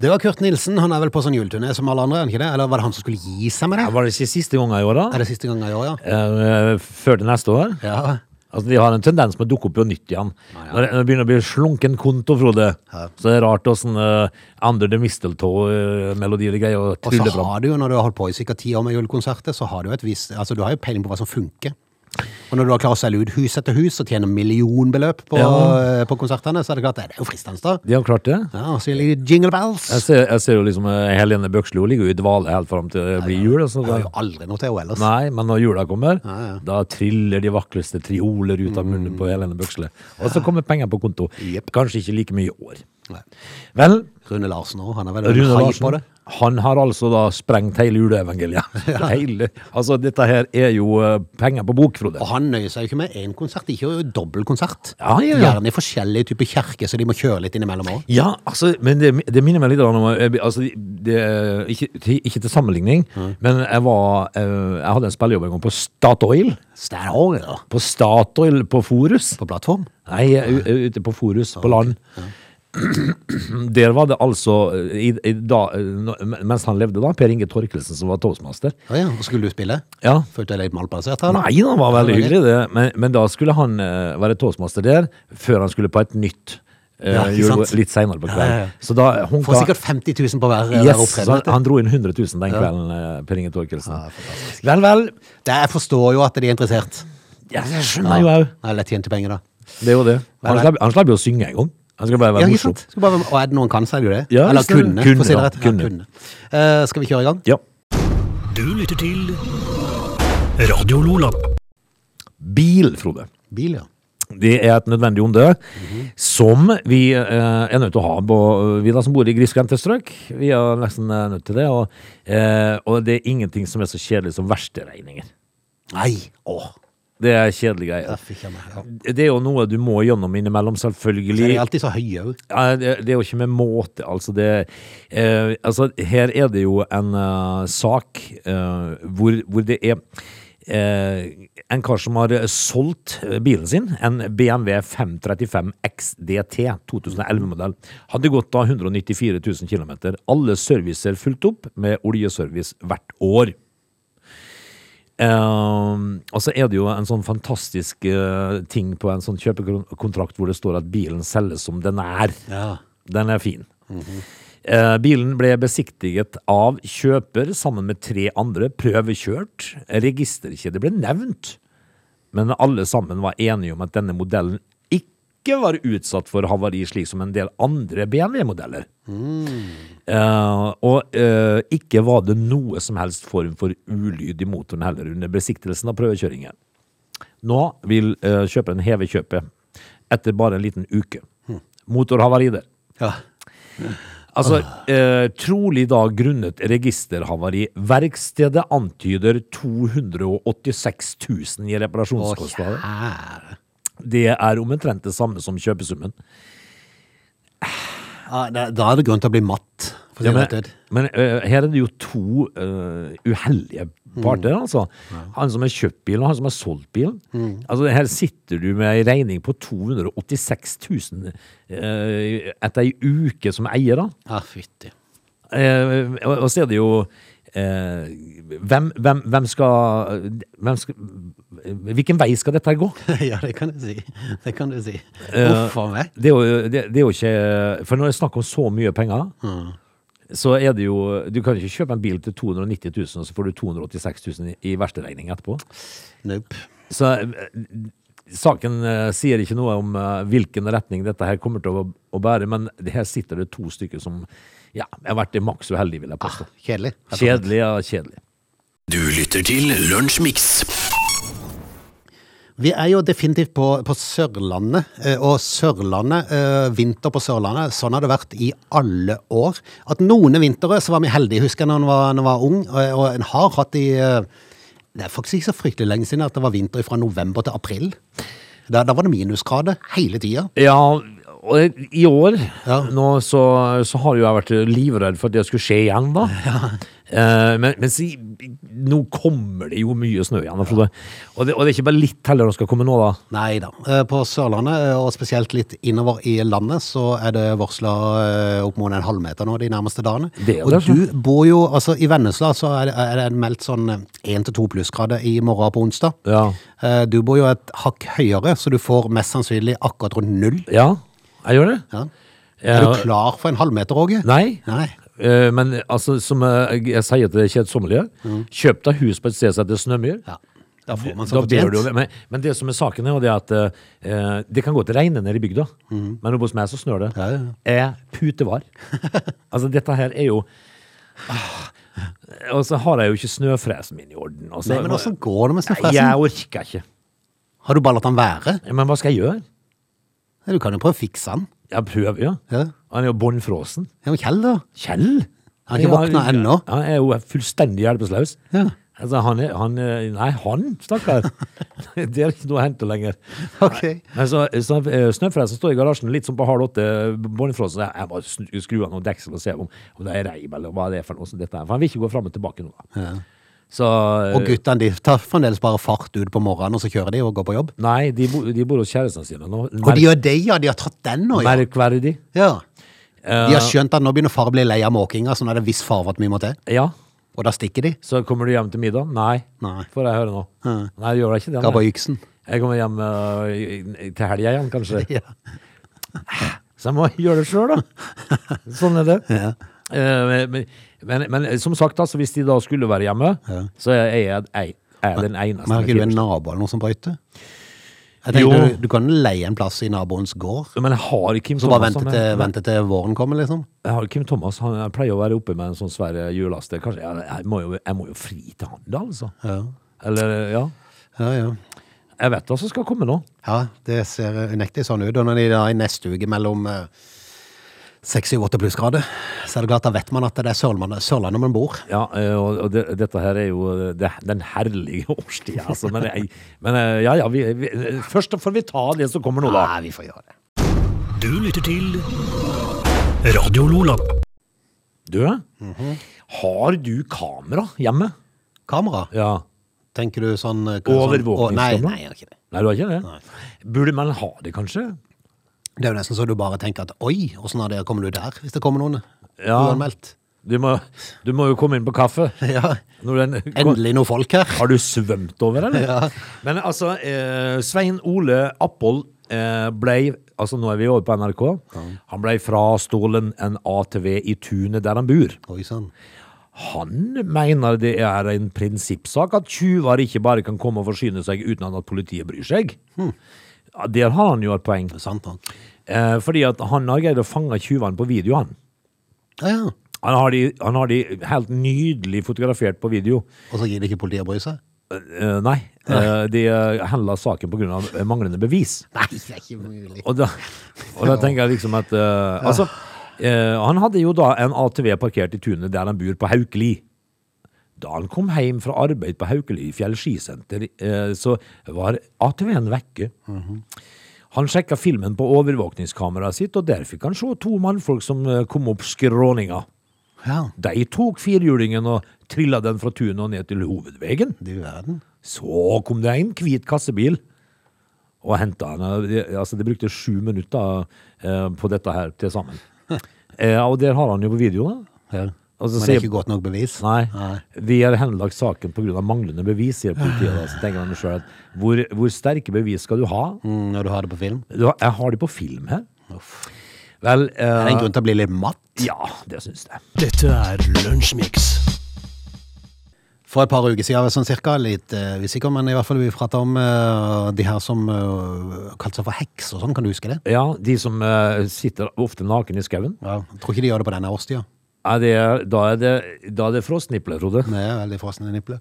[SPEAKER 1] Det var Kurt Nilsen. Han er vel på sånn juleturné som alle andre, er han ikke det? Eller var det han som skulle gi seg med det?
[SPEAKER 3] Ja, Var det ikke siste gangen i år, da?
[SPEAKER 1] Er det siste gangen i år, ja?
[SPEAKER 3] Eh, Før det neste år?
[SPEAKER 1] Ja.
[SPEAKER 3] Altså, De har en tendens med å dukke opp på nytt igjen.
[SPEAKER 1] ja.
[SPEAKER 3] Når det- når det begynner å bli slunken konto, Frode,
[SPEAKER 1] Ja.
[SPEAKER 3] så det er rart åssen uh, Under the Mistletoe-melodier og greier å
[SPEAKER 1] Og så
[SPEAKER 3] trylle fram.
[SPEAKER 1] har du jo, når du har holdt på i sikkert ti år med julekonserter, så har du jo et visst Altså, du har jo peiling på hva som funker. Og når du har klart å selge ut hus etter hus og tjene millionbeløp på, eh,
[SPEAKER 3] Ja.
[SPEAKER 1] på konsertene, så er det klart det er jo fristende, da.
[SPEAKER 3] De har klart det.
[SPEAKER 1] Ja, og så litt jingle bells.
[SPEAKER 3] Jeg ser, jeg ser jo liksom eh, Helene Bøkslo ligger jo i dvale helt fram til det blir jul. og sånn.
[SPEAKER 1] Jeg har jo aldri noe til henne ellers.
[SPEAKER 3] Nei, men når jula kommer,
[SPEAKER 1] Ja, ja. Mm.
[SPEAKER 3] da triller de vakreste trioler ut av munnen på Helene Bøksle. Og så kommer penger på konto.
[SPEAKER 1] Jep.
[SPEAKER 3] Kanskje ikke like mye i år.
[SPEAKER 1] Nei.
[SPEAKER 3] Vel,
[SPEAKER 1] Rune Larsen òg, han er vel
[SPEAKER 3] Rune
[SPEAKER 1] high på
[SPEAKER 3] Larsen,
[SPEAKER 1] det.
[SPEAKER 3] han har altså da sprengt hele juleevangeliet. Hele, altså, dette her er jo eh, penger på bok, Frode.
[SPEAKER 1] Og han nøyer seg jo ikke med én konsert, de kjører jo dobbeltkonsert.
[SPEAKER 3] Ja, ja, ja.
[SPEAKER 1] Gjerne i forskjellige typer kjerker, så de må kjøre litt innimellom òg.
[SPEAKER 3] Ja, altså, men det, det minner meg litt om eh, altså, det, ikke, til- ikke til sammenligning, men jeg, var, eh, jeg hadde en spillejobb en gang på Statoil.
[SPEAKER 1] Statoil ja.
[SPEAKER 3] På Statoil på Forus.
[SPEAKER 1] på plattform.
[SPEAKER 3] Nei, eh, u- u- ute på Forus, på land. Der var det altså i, i da, no- Mens han levde, da, Per Inge Torkelsen, som var toastmaster.
[SPEAKER 1] Å ja, og skulle du spille?
[SPEAKER 3] Ja.
[SPEAKER 1] Følte jeg deg litt malplassert her? da?
[SPEAKER 3] Nei, han var
[SPEAKER 1] Ja,
[SPEAKER 3] veldig
[SPEAKER 1] det
[SPEAKER 3] hyggelig, det. Men, men da skulle han eh, være toastmaster der, før han skulle på et nytt. eh,
[SPEAKER 1] Ja, ikke sant?
[SPEAKER 3] jule- litt seinere på kvelden.
[SPEAKER 1] Ja, ja, ja.
[SPEAKER 3] Så da eh, hun
[SPEAKER 1] Får sikkert 50 000 på hver, eh, hver
[SPEAKER 3] yes, så han,
[SPEAKER 1] opptreden.
[SPEAKER 3] han dro inn 100 000 den kvelden, eh, Per Inge Torkelsen.
[SPEAKER 1] Ja, fantastisk.
[SPEAKER 3] vel, vel.
[SPEAKER 1] Det, jeg forstår jo at de er interessert.
[SPEAKER 3] Ja, jeg skjønner Mm. jo òg.
[SPEAKER 1] Det er lett tjente penger, da.
[SPEAKER 3] Det er jo det. Han
[SPEAKER 1] Vel, vel.
[SPEAKER 3] slapp, han slapp jo å synge en gang. Han skal bare
[SPEAKER 1] Ja,
[SPEAKER 3] være
[SPEAKER 1] ikke
[SPEAKER 3] morsom.
[SPEAKER 1] sant? Skal bare, være- og er det noen kan, så er det jo det.
[SPEAKER 3] Ja,
[SPEAKER 1] Eller
[SPEAKER 3] hvis det er-
[SPEAKER 1] kunne,
[SPEAKER 3] kunne,
[SPEAKER 1] for å si det
[SPEAKER 3] da.
[SPEAKER 1] rett. Ja,
[SPEAKER 3] Kunne.
[SPEAKER 1] kunne. Eh, skal vi kjøre i gang?
[SPEAKER 3] Ja.
[SPEAKER 2] Du lytter til Radio Lola.
[SPEAKER 3] Bil, Frode.
[SPEAKER 1] Bil, ja.
[SPEAKER 3] Det er et nødvendig onde som vi eh, er nødt til å ha. På, vi da som bor i grisgrendte strøk, vi er nesten eh, nødt til det. Og, eh, og det er ingenting som er så kjedelig som verkstedregninger.
[SPEAKER 1] Nei! Åh,
[SPEAKER 3] Det er kjedelige
[SPEAKER 1] der
[SPEAKER 3] greier.
[SPEAKER 1] fikk jeg meg. Ja.
[SPEAKER 3] Det er jo noe du må gjennom innimellom,
[SPEAKER 1] Så er
[SPEAKER 3] selvfølgelig.
[SPEAKER 1] de alltid så høye òg.
[SPEAKER 3] Ja, det, det er jo ikke med måte. Altså, det, eh, altså her er det jo en eh, sak eh, hvor, hvor det er eh, en kar som har solgt bilen sin, en BMW 535 XDT 2011-modell. Hadde gått da 194 000 km. Alle servicer fulgt opp med oljeservice hvert år. Ehm, og så er det jo en sånn fantastisk eh, ting på en sånn kjøpekontrakt hvor det står at bilen selges som den er.
[SPEAKER 1] Ja.
[SPEAKER 3] Den er fin. Eh, Bilen ble besiktiget av kjøper sammen med tre andre, prøvekjørt. Registerkjede ble nevnt, men alle sammen var enige om at denne modellen ikke var utsatt for havari, slik som en del andre BMW-modeller. Eh, og eh, ikke var det noe som helst form for ulyd i motoren heller under besiktelsen av prøvekjøringen. Nå vil eh, kjøperen heve kjøpet etter bare en liten uke. Motorhavari der.
[SPEAKER 1] Ja.
[SPEAKER 3] Altså, eh, trolig da grunnet registerhavari. Verkstedet antyder 286 000 i
[SPEAKER 1] Og
[SPEAKER 3] reparasjonskostnader.
[SPEAKER 1] kjære.
[SPEAKER 3] Det er omtrent det samme som kjøpesummen.
[SPEAKER 1] Ja, da, da er det grunn til å bli matt. For å si
[SPEAKER 3] Ja,
[SPEAKER 1] det
[SPEAKER 3] men
[SPEAKER 1] rett ut.
[SPEAKER 3] men eh, her er det jo to eh, uheldige parter, altså. Han som har kjøpt bilen, og han som har solgt bilen. Altså, her sitter du med ei regning på 286 000 eh, etter ei uke som eier, da.
[SPEAKER 1] Ja, fytti.
[SPEAKER 3] Eh, og, og så er det jo eh, hvem, hvem, hvem, skal, hvem skal Hvilken vei skal dette gå?
[SPEAKER 1] Ja, det kan du si. Det kan du si. Uff a meg.
[SPEAKER 3] Det er, jo, det, det er jo ikke For når det er snakk om så mye penger, så er det jo Du kan ikke kjøpe en bil til 290 000, og så får du 286 000 i, i versteregning etterpå.
[SPEAKER 1] Nope.
[SPEAKER 3] Så eh, saken eh, sier ikke noe om eh, hvilken retning dette her kommer til å, å bære, men det her sitter det to stykker som ja, har vært det maks uheldige, vil jeg
[SPEAKER 1] Ah,
[SPEAKER 3] påstå.
[SPEAKER 1] Kjedelig.
[SPEAKER 3] Kjedelig og kjedelig.
[SPEAKER 2] Du lytter til Lunsjmix.
[SPEAKER 1] Vi er jo definitivt på, på Sørlandet, eh, og Sørlandet, eh, vinter på Sørlandet, sånn har det vært i alle år. At noen vintre så var vi heldige, husker jeg når en var, når en var ung, eh, og, og en har hatt i eh, Det er faktisk ikke så fryktelig lenge siden at det var vinter fra november til april. Da, da var det minusgrader hele tida.
[SPEAKER 3] Ja, og i år
[SPEAKER 1] Ja.
[SPEAKER 3] nå så, så har jo jeg vært livredd for at det skulle skje igjen, da. Eh, men men si, nå kommer det jo mye snø igjen. da, Frode. Og, det, og det er ikke bare litt heller som skal komme nå, da.
[SPEAKER 1] Nei da. Eh, På Sørlandet, eh, og spesielt litt innover i landet, så er det varsla opp mot en halvmeter nå de nærmeste dagene.
[SPEAKER 3] Det er
[SPEAKER 1] og
[SPEAKER 3] det,
[SPEAKER 1] du bor jo altså I Vennesla så er det, er det meldt sånn én til to plussgrader i morgen på onsdag.
[SPEAKER 3] Ja.
[SPEAKER 1] Eh, Du bor jo et hakk høyere, så du får mest sannsynlig akkurat rundt null.
[SPEAKER 3] ja jeg gjør det.
[SPEAKER 1] Ja. Er
[SPEAKER 3] Ja.
[SPEAKER 1] du klar for en halvmeter, Åge?
[SPEAKER 3] Nei.
[SPEAKER 1] Nei.
[SPEAKER 3] Eh, men altså, som jeg, jeg sier til det kjedsommelige,
[SPEAKER 1] Mm.
[SPEAKER 3] kjøp deg hus på et sted som heter Snømyr.
[SPEAKER 1] Ja. Da får man
[SPEAKER 3] Da
[SPEAKER 1] så
[SPEAKER 3] bør du,
[SPEAKER 1] fortjent.
[SPEAKER 3] men, men det som er saken, er jo det at eh, det kan godt regne nede i bygda, men oppe hos meg så snør det.
[SPEAKER 1] Mhm. Ja, ja, ja.
[SPEAKER 3] Er putevar. altså, dette her er jo ah, Og så har jeg jo ikke snøfresen min i orden. og så-
[SPEAKER 1] Nei, men åssen går det med
[SPEAKER 3] Nei, Jeg
[SPEAKER 1] snøfresen?
[SPEAKER 3] orker ikke.
[SPEAKER 1] Har du bare latt den være?
[SPEAKER 3] Men hva skal jeg gjøre?
[SPEAKER 1] Du kan jo prøve å fikse den.
[SPEAKER 3] Jeg prøver, ja.
[SPEAKER 1] Ja.
[SPEAKER 3] Han er jo bånnfrosen.
[SPEAKER 1] Ja, men Kjell, da?
[SPEAKER 3] Kjell?
[SPEAKER 1] Han har ikke våkna ennå.
[SPEAKER 3] Han er jo fullstendig hjelpeløs.
[SPEAKER 1] Ja.
[SPEAKER 3] Altså, han er han, er- Nei, han, stakkar. det er ikke noe å hente lenger.
[SPEAKER 1] Ok.
[SPEAKER 3] Men så, så eh, Snøfresen står i garasjen litt sånn på halv åtte, bånnfrossen. så Jeg jeg bare snu- skrur av noe deksel og ser om, om det er reim eller hva det er for noe. som dette er. For han vil ikke gå fram og tilbake nå. da. Så eh,
[SPEAKER 1] Og guttene de tar fremdeles bare fart ut på morgenen, og så kjører de og går på jobb.
[SPEAKER 3] Nei, de, bo, de bor hos kjærestene sine nå.
[SPEAKER 1] Og de gjør det, ja! De har tatt den nå, ja.
[SPEAKER 3] Merkverdig.
[SPEAKER 1] ja. De
[SPEAKER 3] Eh,
[SPEAKER 1] har skjønt at nå begynner far å bli lei av måkinga, så nå er det viss fare for at vi må til.
[SPEAKER 3] Ja.
[SPEAKER 1] Og da stikker de.
[SPEAKER 3] Så kommer du hjem til middag? Nei,
[SPEAKER 1] Nei.
[SPEAKER 3] får jeg høre nå.
[SPEAKER 1] Ja.
[SPEAKER 3] Nei, gjør jeg ikke
[SPEAKER 1] Ga
[SPEAKER 3] det? nei.
[SPEAKER 1] bare yksen.
[SPEAKER 3] Jeg kommer hjem øh, i- i- til helga igjen, kanskje.
[SPEAKER 1] Ja.
[SPEAKER 3] Så jeg må gjøre det sjøl, da. Sånn er det. Eh, men, men, men som sagt, altså, hvis de da skulle være hjemme, så er jeg, jeg, jeg er den eneste.
[SPEAKER 1] Men har ikke du en
[SPEAKER 3] med
[SPEAKER 1] nabo eller noe som brøyter? Jeg
[SPEAKER 3] Jo.
[SPEAKER 1] tenker, du, du kan leie en plass i naboens gård,
[SPEAKER 3] Kim- Men jeg har Kim
[SPEAKER 1] så bare
[SPEAKER 3] Thomas.
[SPEAKER 1] vente
[SPEAKER 3] som
[SPEAKER 1] til,
[SPEAKER 3] er-
[SPEAKER 1] vente til våren kommer, liksom.
[SPEAKER 3] Jeg har Kim Thomas, han jeg pleier å være oppe med en sånn svær hjullaster. Kanskje jeg, jeg, må jo, jeg må jo fri til han, da, altså.
[SPEAKER 1] Ja,
[SPEAKER 3] Eller, ja.
[SPEAKER 1] ja. ja.
[SPEAKER 3] Jeg vet hva som skal komme nå.
[SPEAKER 1] Ja, det ser unektelig sånn ut. Og når de da i neste uke mellom eh, 6 og 8 plussgrader, så er det klart da vet man at det er Sørlandet, Sørlandet man bor.
[SPEAKER 3] Ja, eh, og, og det, dette her er jo eh, det, den herlige årstida, altså. Men, jeg, men eh, ja, ja. Vi, vi, først får vi ta det som kommer nå, da.
[SPEAKER 1] Nei, vi får gjøre det.
[SPEAKER 4] Du lytter til Radio Lola.
[SPEAKER 3] Du, eh?
[SPEAKER 1] Mhm.
[SPEAKER 3] har du kamera hjemme?
[SPEAKER 1] Kamera?
[SPEAKER 3] Ja.
[SPEAKER 1] Tenker du sånn eh, hva- sånn-
[SPEAKER 3] Overvåkningskamera?
[SPEAKER 1] Å, Nei, nei, jeg har ikke det.
[SPEAKER 3] Nei, du har ikke det? Burde man ha det, kanskje?
[SPEAKER 1] Det er jo nesten så du bare tenker at oi, åssen har det kommet ut her, hvis det kommer noen
[SPEAKER 3] Ja.
[SPEAKER 1] uanmeldt?
[SPEAKER 3] Du må, du må jo komme inn på kaffe.
[SPEAKER 1] Ja.
[SPEAKER 3] Når den,
[SPEAKER 1] Endelig noen folk her.
[SPEAKER 3] har du svømt over, eller? Men altså, eh, Svein Ole Appold eh, ble altså nå er vi over på NRK, han ble frastolen en ATV i tunet der han bor.
[SPEAKER 1] Oi sånn. sann.
[SPEAKER 3] Han mener det er en prinsippsak at tjuver ikke bare kan komme og forsyne seg uten at politiet bryr seg. Ja, Der har han jo et poeng.
[SPEAKER 1] Sant, han.
[SPEAKER 3] Eh, fordi at han har greid å fange tjuvene på video, han.
[SPEAKER 1] Ja, ja.
[SPEAKER 3] Han har, de, han har de helt nydelig fotografert på video.
[SPEAKER 1] Og så gir det ikke politiet å bry seg?
[SPEAKER 3] Eh, nei, eh, de eh, handla saken pga. manglende bevis.
[SPEAKER 1] Nei, det er ikke mulig.
[SPEAKER 3] Og da, og da tenker jeg liksom at eh, Altså, eh, han hadde jo da en ATV parkert i tunet der han bor, på Haukeli. Da han kom hjem fra arbeid på Haukeli fjellskisenter, eh, så var ATV-en vekke. Han sjekka filmen på overvåkningskameraet sitt, og der fikk han se to mannfolk som eh, kom opp skråninga.
[SPEAKER 1] Ja,
[SPEAKER 3] De tok firhjulingen og trilla den fra tunet og ned til hovedvegen.
[SPEAKER 1] du verden.
[SPEAKER 3] Så kom det en hvit kassebil og henta henne. De, altså, de brukte sju minutter eh, på dette her til sammen. Eh, og der har han jo på video. da.
[SPEAKER 1] Ja.
[SPEAKER 3] Og så
[SPEAKER 1] Men det er
[SPEAKER 3] sier
[SPEAKER 1] ikke godt nok bevis?
[SPEAKER 3] Nei, vi har henlagt saken pga. manglende bevis, sier politiet. da. Så tenker han sjøl at hvor, hvor sterke bevis skal du ha?
[SPEAKER 1] Mm, Når du har det på film?
[SPEAKER 3] Du har, jeg har de på film her. Vel
[SPEAKER 1] Er det
[SPEAKER 3] eh,
[SPEAKER 1] en grunn til å bli litt matt?
[SPEAKER 3] Ja, det syns jeg.
[SPEAKER 4] Dette er Lunsjmix.
[SPEAKER 1] For et par uker siden, sånn cirka, litt eh, usikker, men i hvert fall vi pratet om eh, de her som eh, kalte seg for heks og sånn, kan du huske det?
[SPEAKER 3] Ja, de som eh, sitter ofte naken i skauen.
[SPEAKER 1] Ja. Jeg tror ikke de gjør det på denne årstida.
[SPEAKER 3] Ja, det er- da er det, da er det frostnipler, Frode.
[SPEAKER 1] Det er veldig frosne nipler.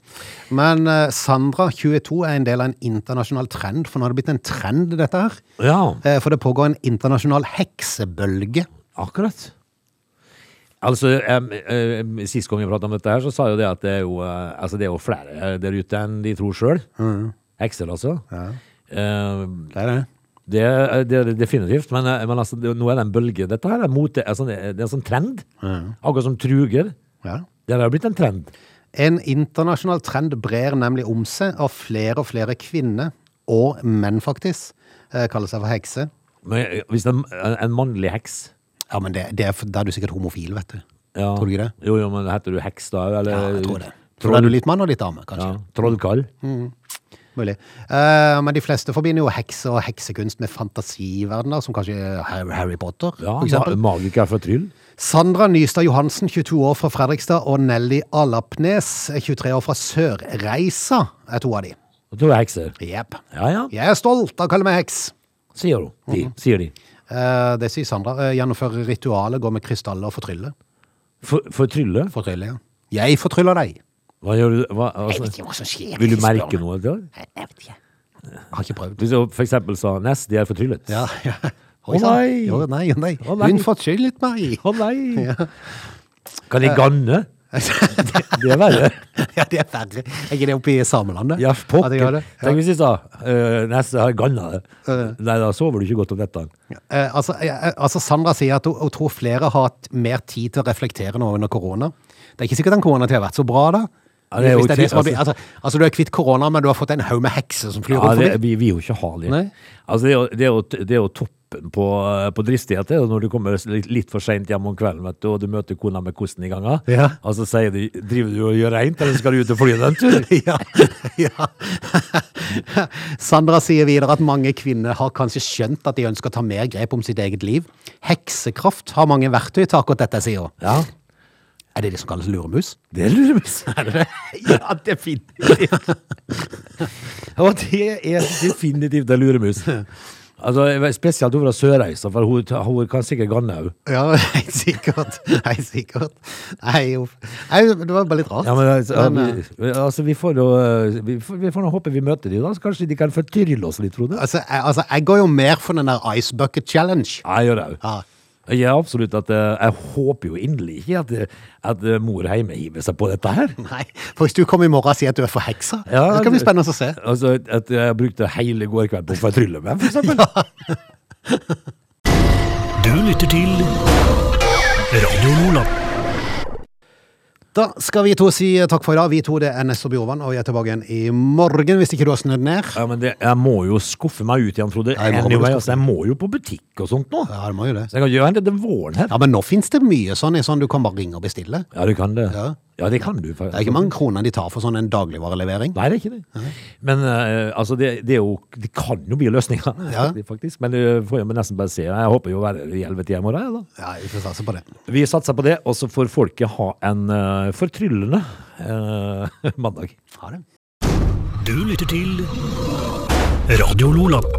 [SPEAKER 1] Men eh, Sandra, 22, er en del av en internasjonal trend, for nå har det blitt en trend, dette her.
[SPEAKER 3] Ja.
[SPEAKER 1] Eh, For det pågår en internasjonal heksebølge.
[SPEAKER 3] Akkurat. Altså, em, em, Sist gang vi pratet om dette, her, så sa jo det at det er jo, eh, altså det er jo flere der ute enn de tror sjøl. Hekser, altså. Em,
[SPEAKER 1] Mm, Det er det.
[SPEAKER 3] det, er- det er definitivt, men, eh, men altså, det, nå er det en bølge. Dette her er mote, altså, det er det er en sånn trend. Akkurat som truger.
[SPEAKER 1] Mm, Ja.
[SPEAKER 3] Det har blitt en trend.
[SPEAKER 1] En internasjonal trend brer nemlig om seg av flere og flere kvinner, og menn faktisk, eh, kaller seg for hekse.
[SPEAKER 3] Men eh, hvis det er en, en mannlig heks
[SPEAKER 1] Ja, men det, det er, da er du sikkert homofil, vet du.
[SPEAKER 3] ja. Eh,
[SPEAKER 1] Tror du ikke det?
[SPEAKER 3] Jo, jo, men heter du heks da? Eller,
[SPEAKER 1] Ja, jeg tror det. Mm. Tror
[SPEAKER 3] Troll,
[SPEAKER 1] du er litt mann og litt dame, kanskje.
[SPEAKER 3] ja, trollkall?
[SPEAKER 1] Mulig. Eh, men de fleste forbinder jo hekser og heksekunst med fantasiverdener, som kanskje Harry Harry Potter,
[SPEAKER 3] Ja,
[SPEAKER 1] for eksempel.
[SPEAKER 3] ma- magiker fra Tryll?
[SPEAKER 1] Sandra Nystad Johansen, 22 år fra Fredrikstad, og Nelly Alapnes, 23 år fra Sørreisa, er to av de.
[SPEAKER 3] Da tror jeg hekser.
[SPEAKER 1] Jepp.
[SPEAKER 3] Ja, ja.
[SPEAKER 1] Jeg er stolt av å kalle meg heks.
[SPEAKER 3] Sier hun. De,
[SPEAKER 1] Mm.
[SPEAKER 3] sier de.
[SPEAKER 1] Eh, det sier Sandra. Eh, gjennomfører ritualet, går med krystaller og fortryller.
[SPEAKER 3] For, for trylle?
[SPEAKER 1] Fortryller, ja. Jeg fortryller deg.
[SPEAKER 3] Hva gjør du? Hva, altså,
[SPEAKER 1] ikke hva som skjer.
[SPEAKER 3] vil du merke noe? Da?
[SPEAKER 1] Har ikke prøvd.
[SPEAKER 3] Hvis jeg for eksempel sa Ness, de er fortryllet.
[SPEAKER 1] Ja, ja.
[SPEAKER 3] Å nei.
[SPEAKER 1] Jo, nei, å nei.
[SPEAKER 3] Å nei.
[SPEAKER 1] Hun fortryllet meg.
[SPEAKER 3] Å nei! Kan de ganne? det, det er verre.
[SPEAKER 1] Ja, det er verre. Er ikke det oppe i samelandet?
[SPEAKER 3] Ja,
[SPEAKER 1] At jeg gjør
[SPEAKER 3] pokker.
[SPEAKER 1] det? Ja.
[SPEAKER 3] Tenk hvis de sa uh, Ness har ganna det. Nei, da sover du ikke godt om dette.
[SPEAKER 1] Eh, altså, eh, altså, Sandra sier at hun, hun tror flere har hatt mer tid til å reflektere nå under korona. Det er ikke sikkert den koronatida har vært så bra, da.
[SPEAKER 3] Ja, det er jo
[SPEAKER 1] Hvis det er
[SPEAKER 3] ikke-
[SPEAKER 1] de som har blitt- altså, altså, du er kvitt korona, men du har fått en haug med hekser som flyr
[SPEAKER 3] Ja,
[SPEAKER 1] rundt
[SPEAKER 3] det,
[SPEAKER 1] forbi.
[SPEAKER 3] vi vi vil jo ikke ha det.
[SPEAKER 1] Nei.
[SPEAKER 3] Altså, det, er jo, det, er jo, det er jo toppen på, eh, på dristighet det er jo når du kommer litt, litt for seint hjem om kvelden vet du, og du møter kona med kosten i ganga.
[SPEAKER 1] Ja.
[SPEAKER 3] Og så sier de 'driver du og gjør reint, eller skal du ut og fly en tur?'
[SPEAKER 1] Ja, ja. Sandra sier videre at mange kvinner har kanskje skjønt at de ønsker å ta mer grep om sitt eget liv. Heksekraft har mange verktøy til akkurat dette, sier hun.
[SPEAKER 3] Ja,
[SPEAKER 1] Er det det som kalles luremus?
[SPEAKER 3] det lurer vi på.
[SPEAKER 1] Ja, definitivt.
[SPEAKER 3] Og det er definitivt en luremus. Altså, spesielt hun fra Sørreisa, for hun, hun kan sikkert ganne òg.
[SPEAKER 1] Ja, nei, sikkert. Nei, sikkert. Nei, uff. Nei, det var bare litt rart.
[SPEAKER 3] Ja, men altså,
[SPEAKER 1] Men, eh,
[SPEAKER 3] vi, altså, vi får jo, eh, vi får, vi får nå håpe vi møter de da, så kanskje de kan fortyrre oss litt, Frode.
[SPEAKER 1] altså, jeg, altså, jeg går jo mer for den der Ice Bucket Challenge.
[SPEAKER 3] Ja, jeg gjør det òg.
[SPEAKER 1] Ja.
[SPEAKER 3] Jeg er absolutt at eh, Jeg håper jo inderlig ikke at, eh, at eh, mor hjemme hiver seg på dette her.
[SPEAKER 1] Nei, for hvis du kommer i morgen og sier at du er forheksa,
[SPEAKER 3] Ja,
[SPEAKER 1] det skal bli
[SPEAKER 3] det-
[SPEAKER 1] spennende å se.
[SPEAKER 3] Altså At jeg brukte hele går kveld på å fortrylle meg, for eksempel.
[SPEAKER 4] Du lytter til Radio Lola.
[SPEAKER 1] Da skal vi to si takk for i dag. Vi to, det er Nestor Bjorvann, og jeg er tilbake igjen i morgen hvis ikke du har snudd ned.
[SPEAKER 3] Ja, men det, jeg må jo skuffe meg ut igjen, Frode.
[SPEAKER 1] Ja, jeg må
[SPEAKER 3] Anyway,
[SPEAKER 1] skuffe.
[SPEAKER 3] altså, jeg må jo på butikk og sånt nå.
[SPEAKER 1] Ja, det må jo det.
[SPEAKER 3] Så jeg kan gjøre en liten våren her.
[SPEAKER 1] Ja, men nå finnes det mye sånn i sånn du kan bare ringe og bestille.
[SPEAKER 3] Ja, du kan det.
[SPEAKER 1] Ja.
[SPEAKER 3] Ja, det kan du. faktisk.
[SPEAKER 1] Det er ikke mange kroner de tar for sånn en dagligvarelevering.
[SPEAKER 3] Nei, det er ikke det. Men eh, altså, det, det, er jo, det kan jo bli løsninger,
[SPEAKER 1] Ja.
[SPEAKER 3] faktisk. Men det får jeg nesten bare se. Jeg håper jo å være i helvete hjemme hos deg, da.
[SPEAKER 1] Ja, vi får satse på det.
[SPEAKER 3] Vi satser på det, og så får folket ha en eh, fortryllende eh, mandag.
[SPEAKER 1] Ha det.
[SPEAKER 4] Du lytter til Radio Lola.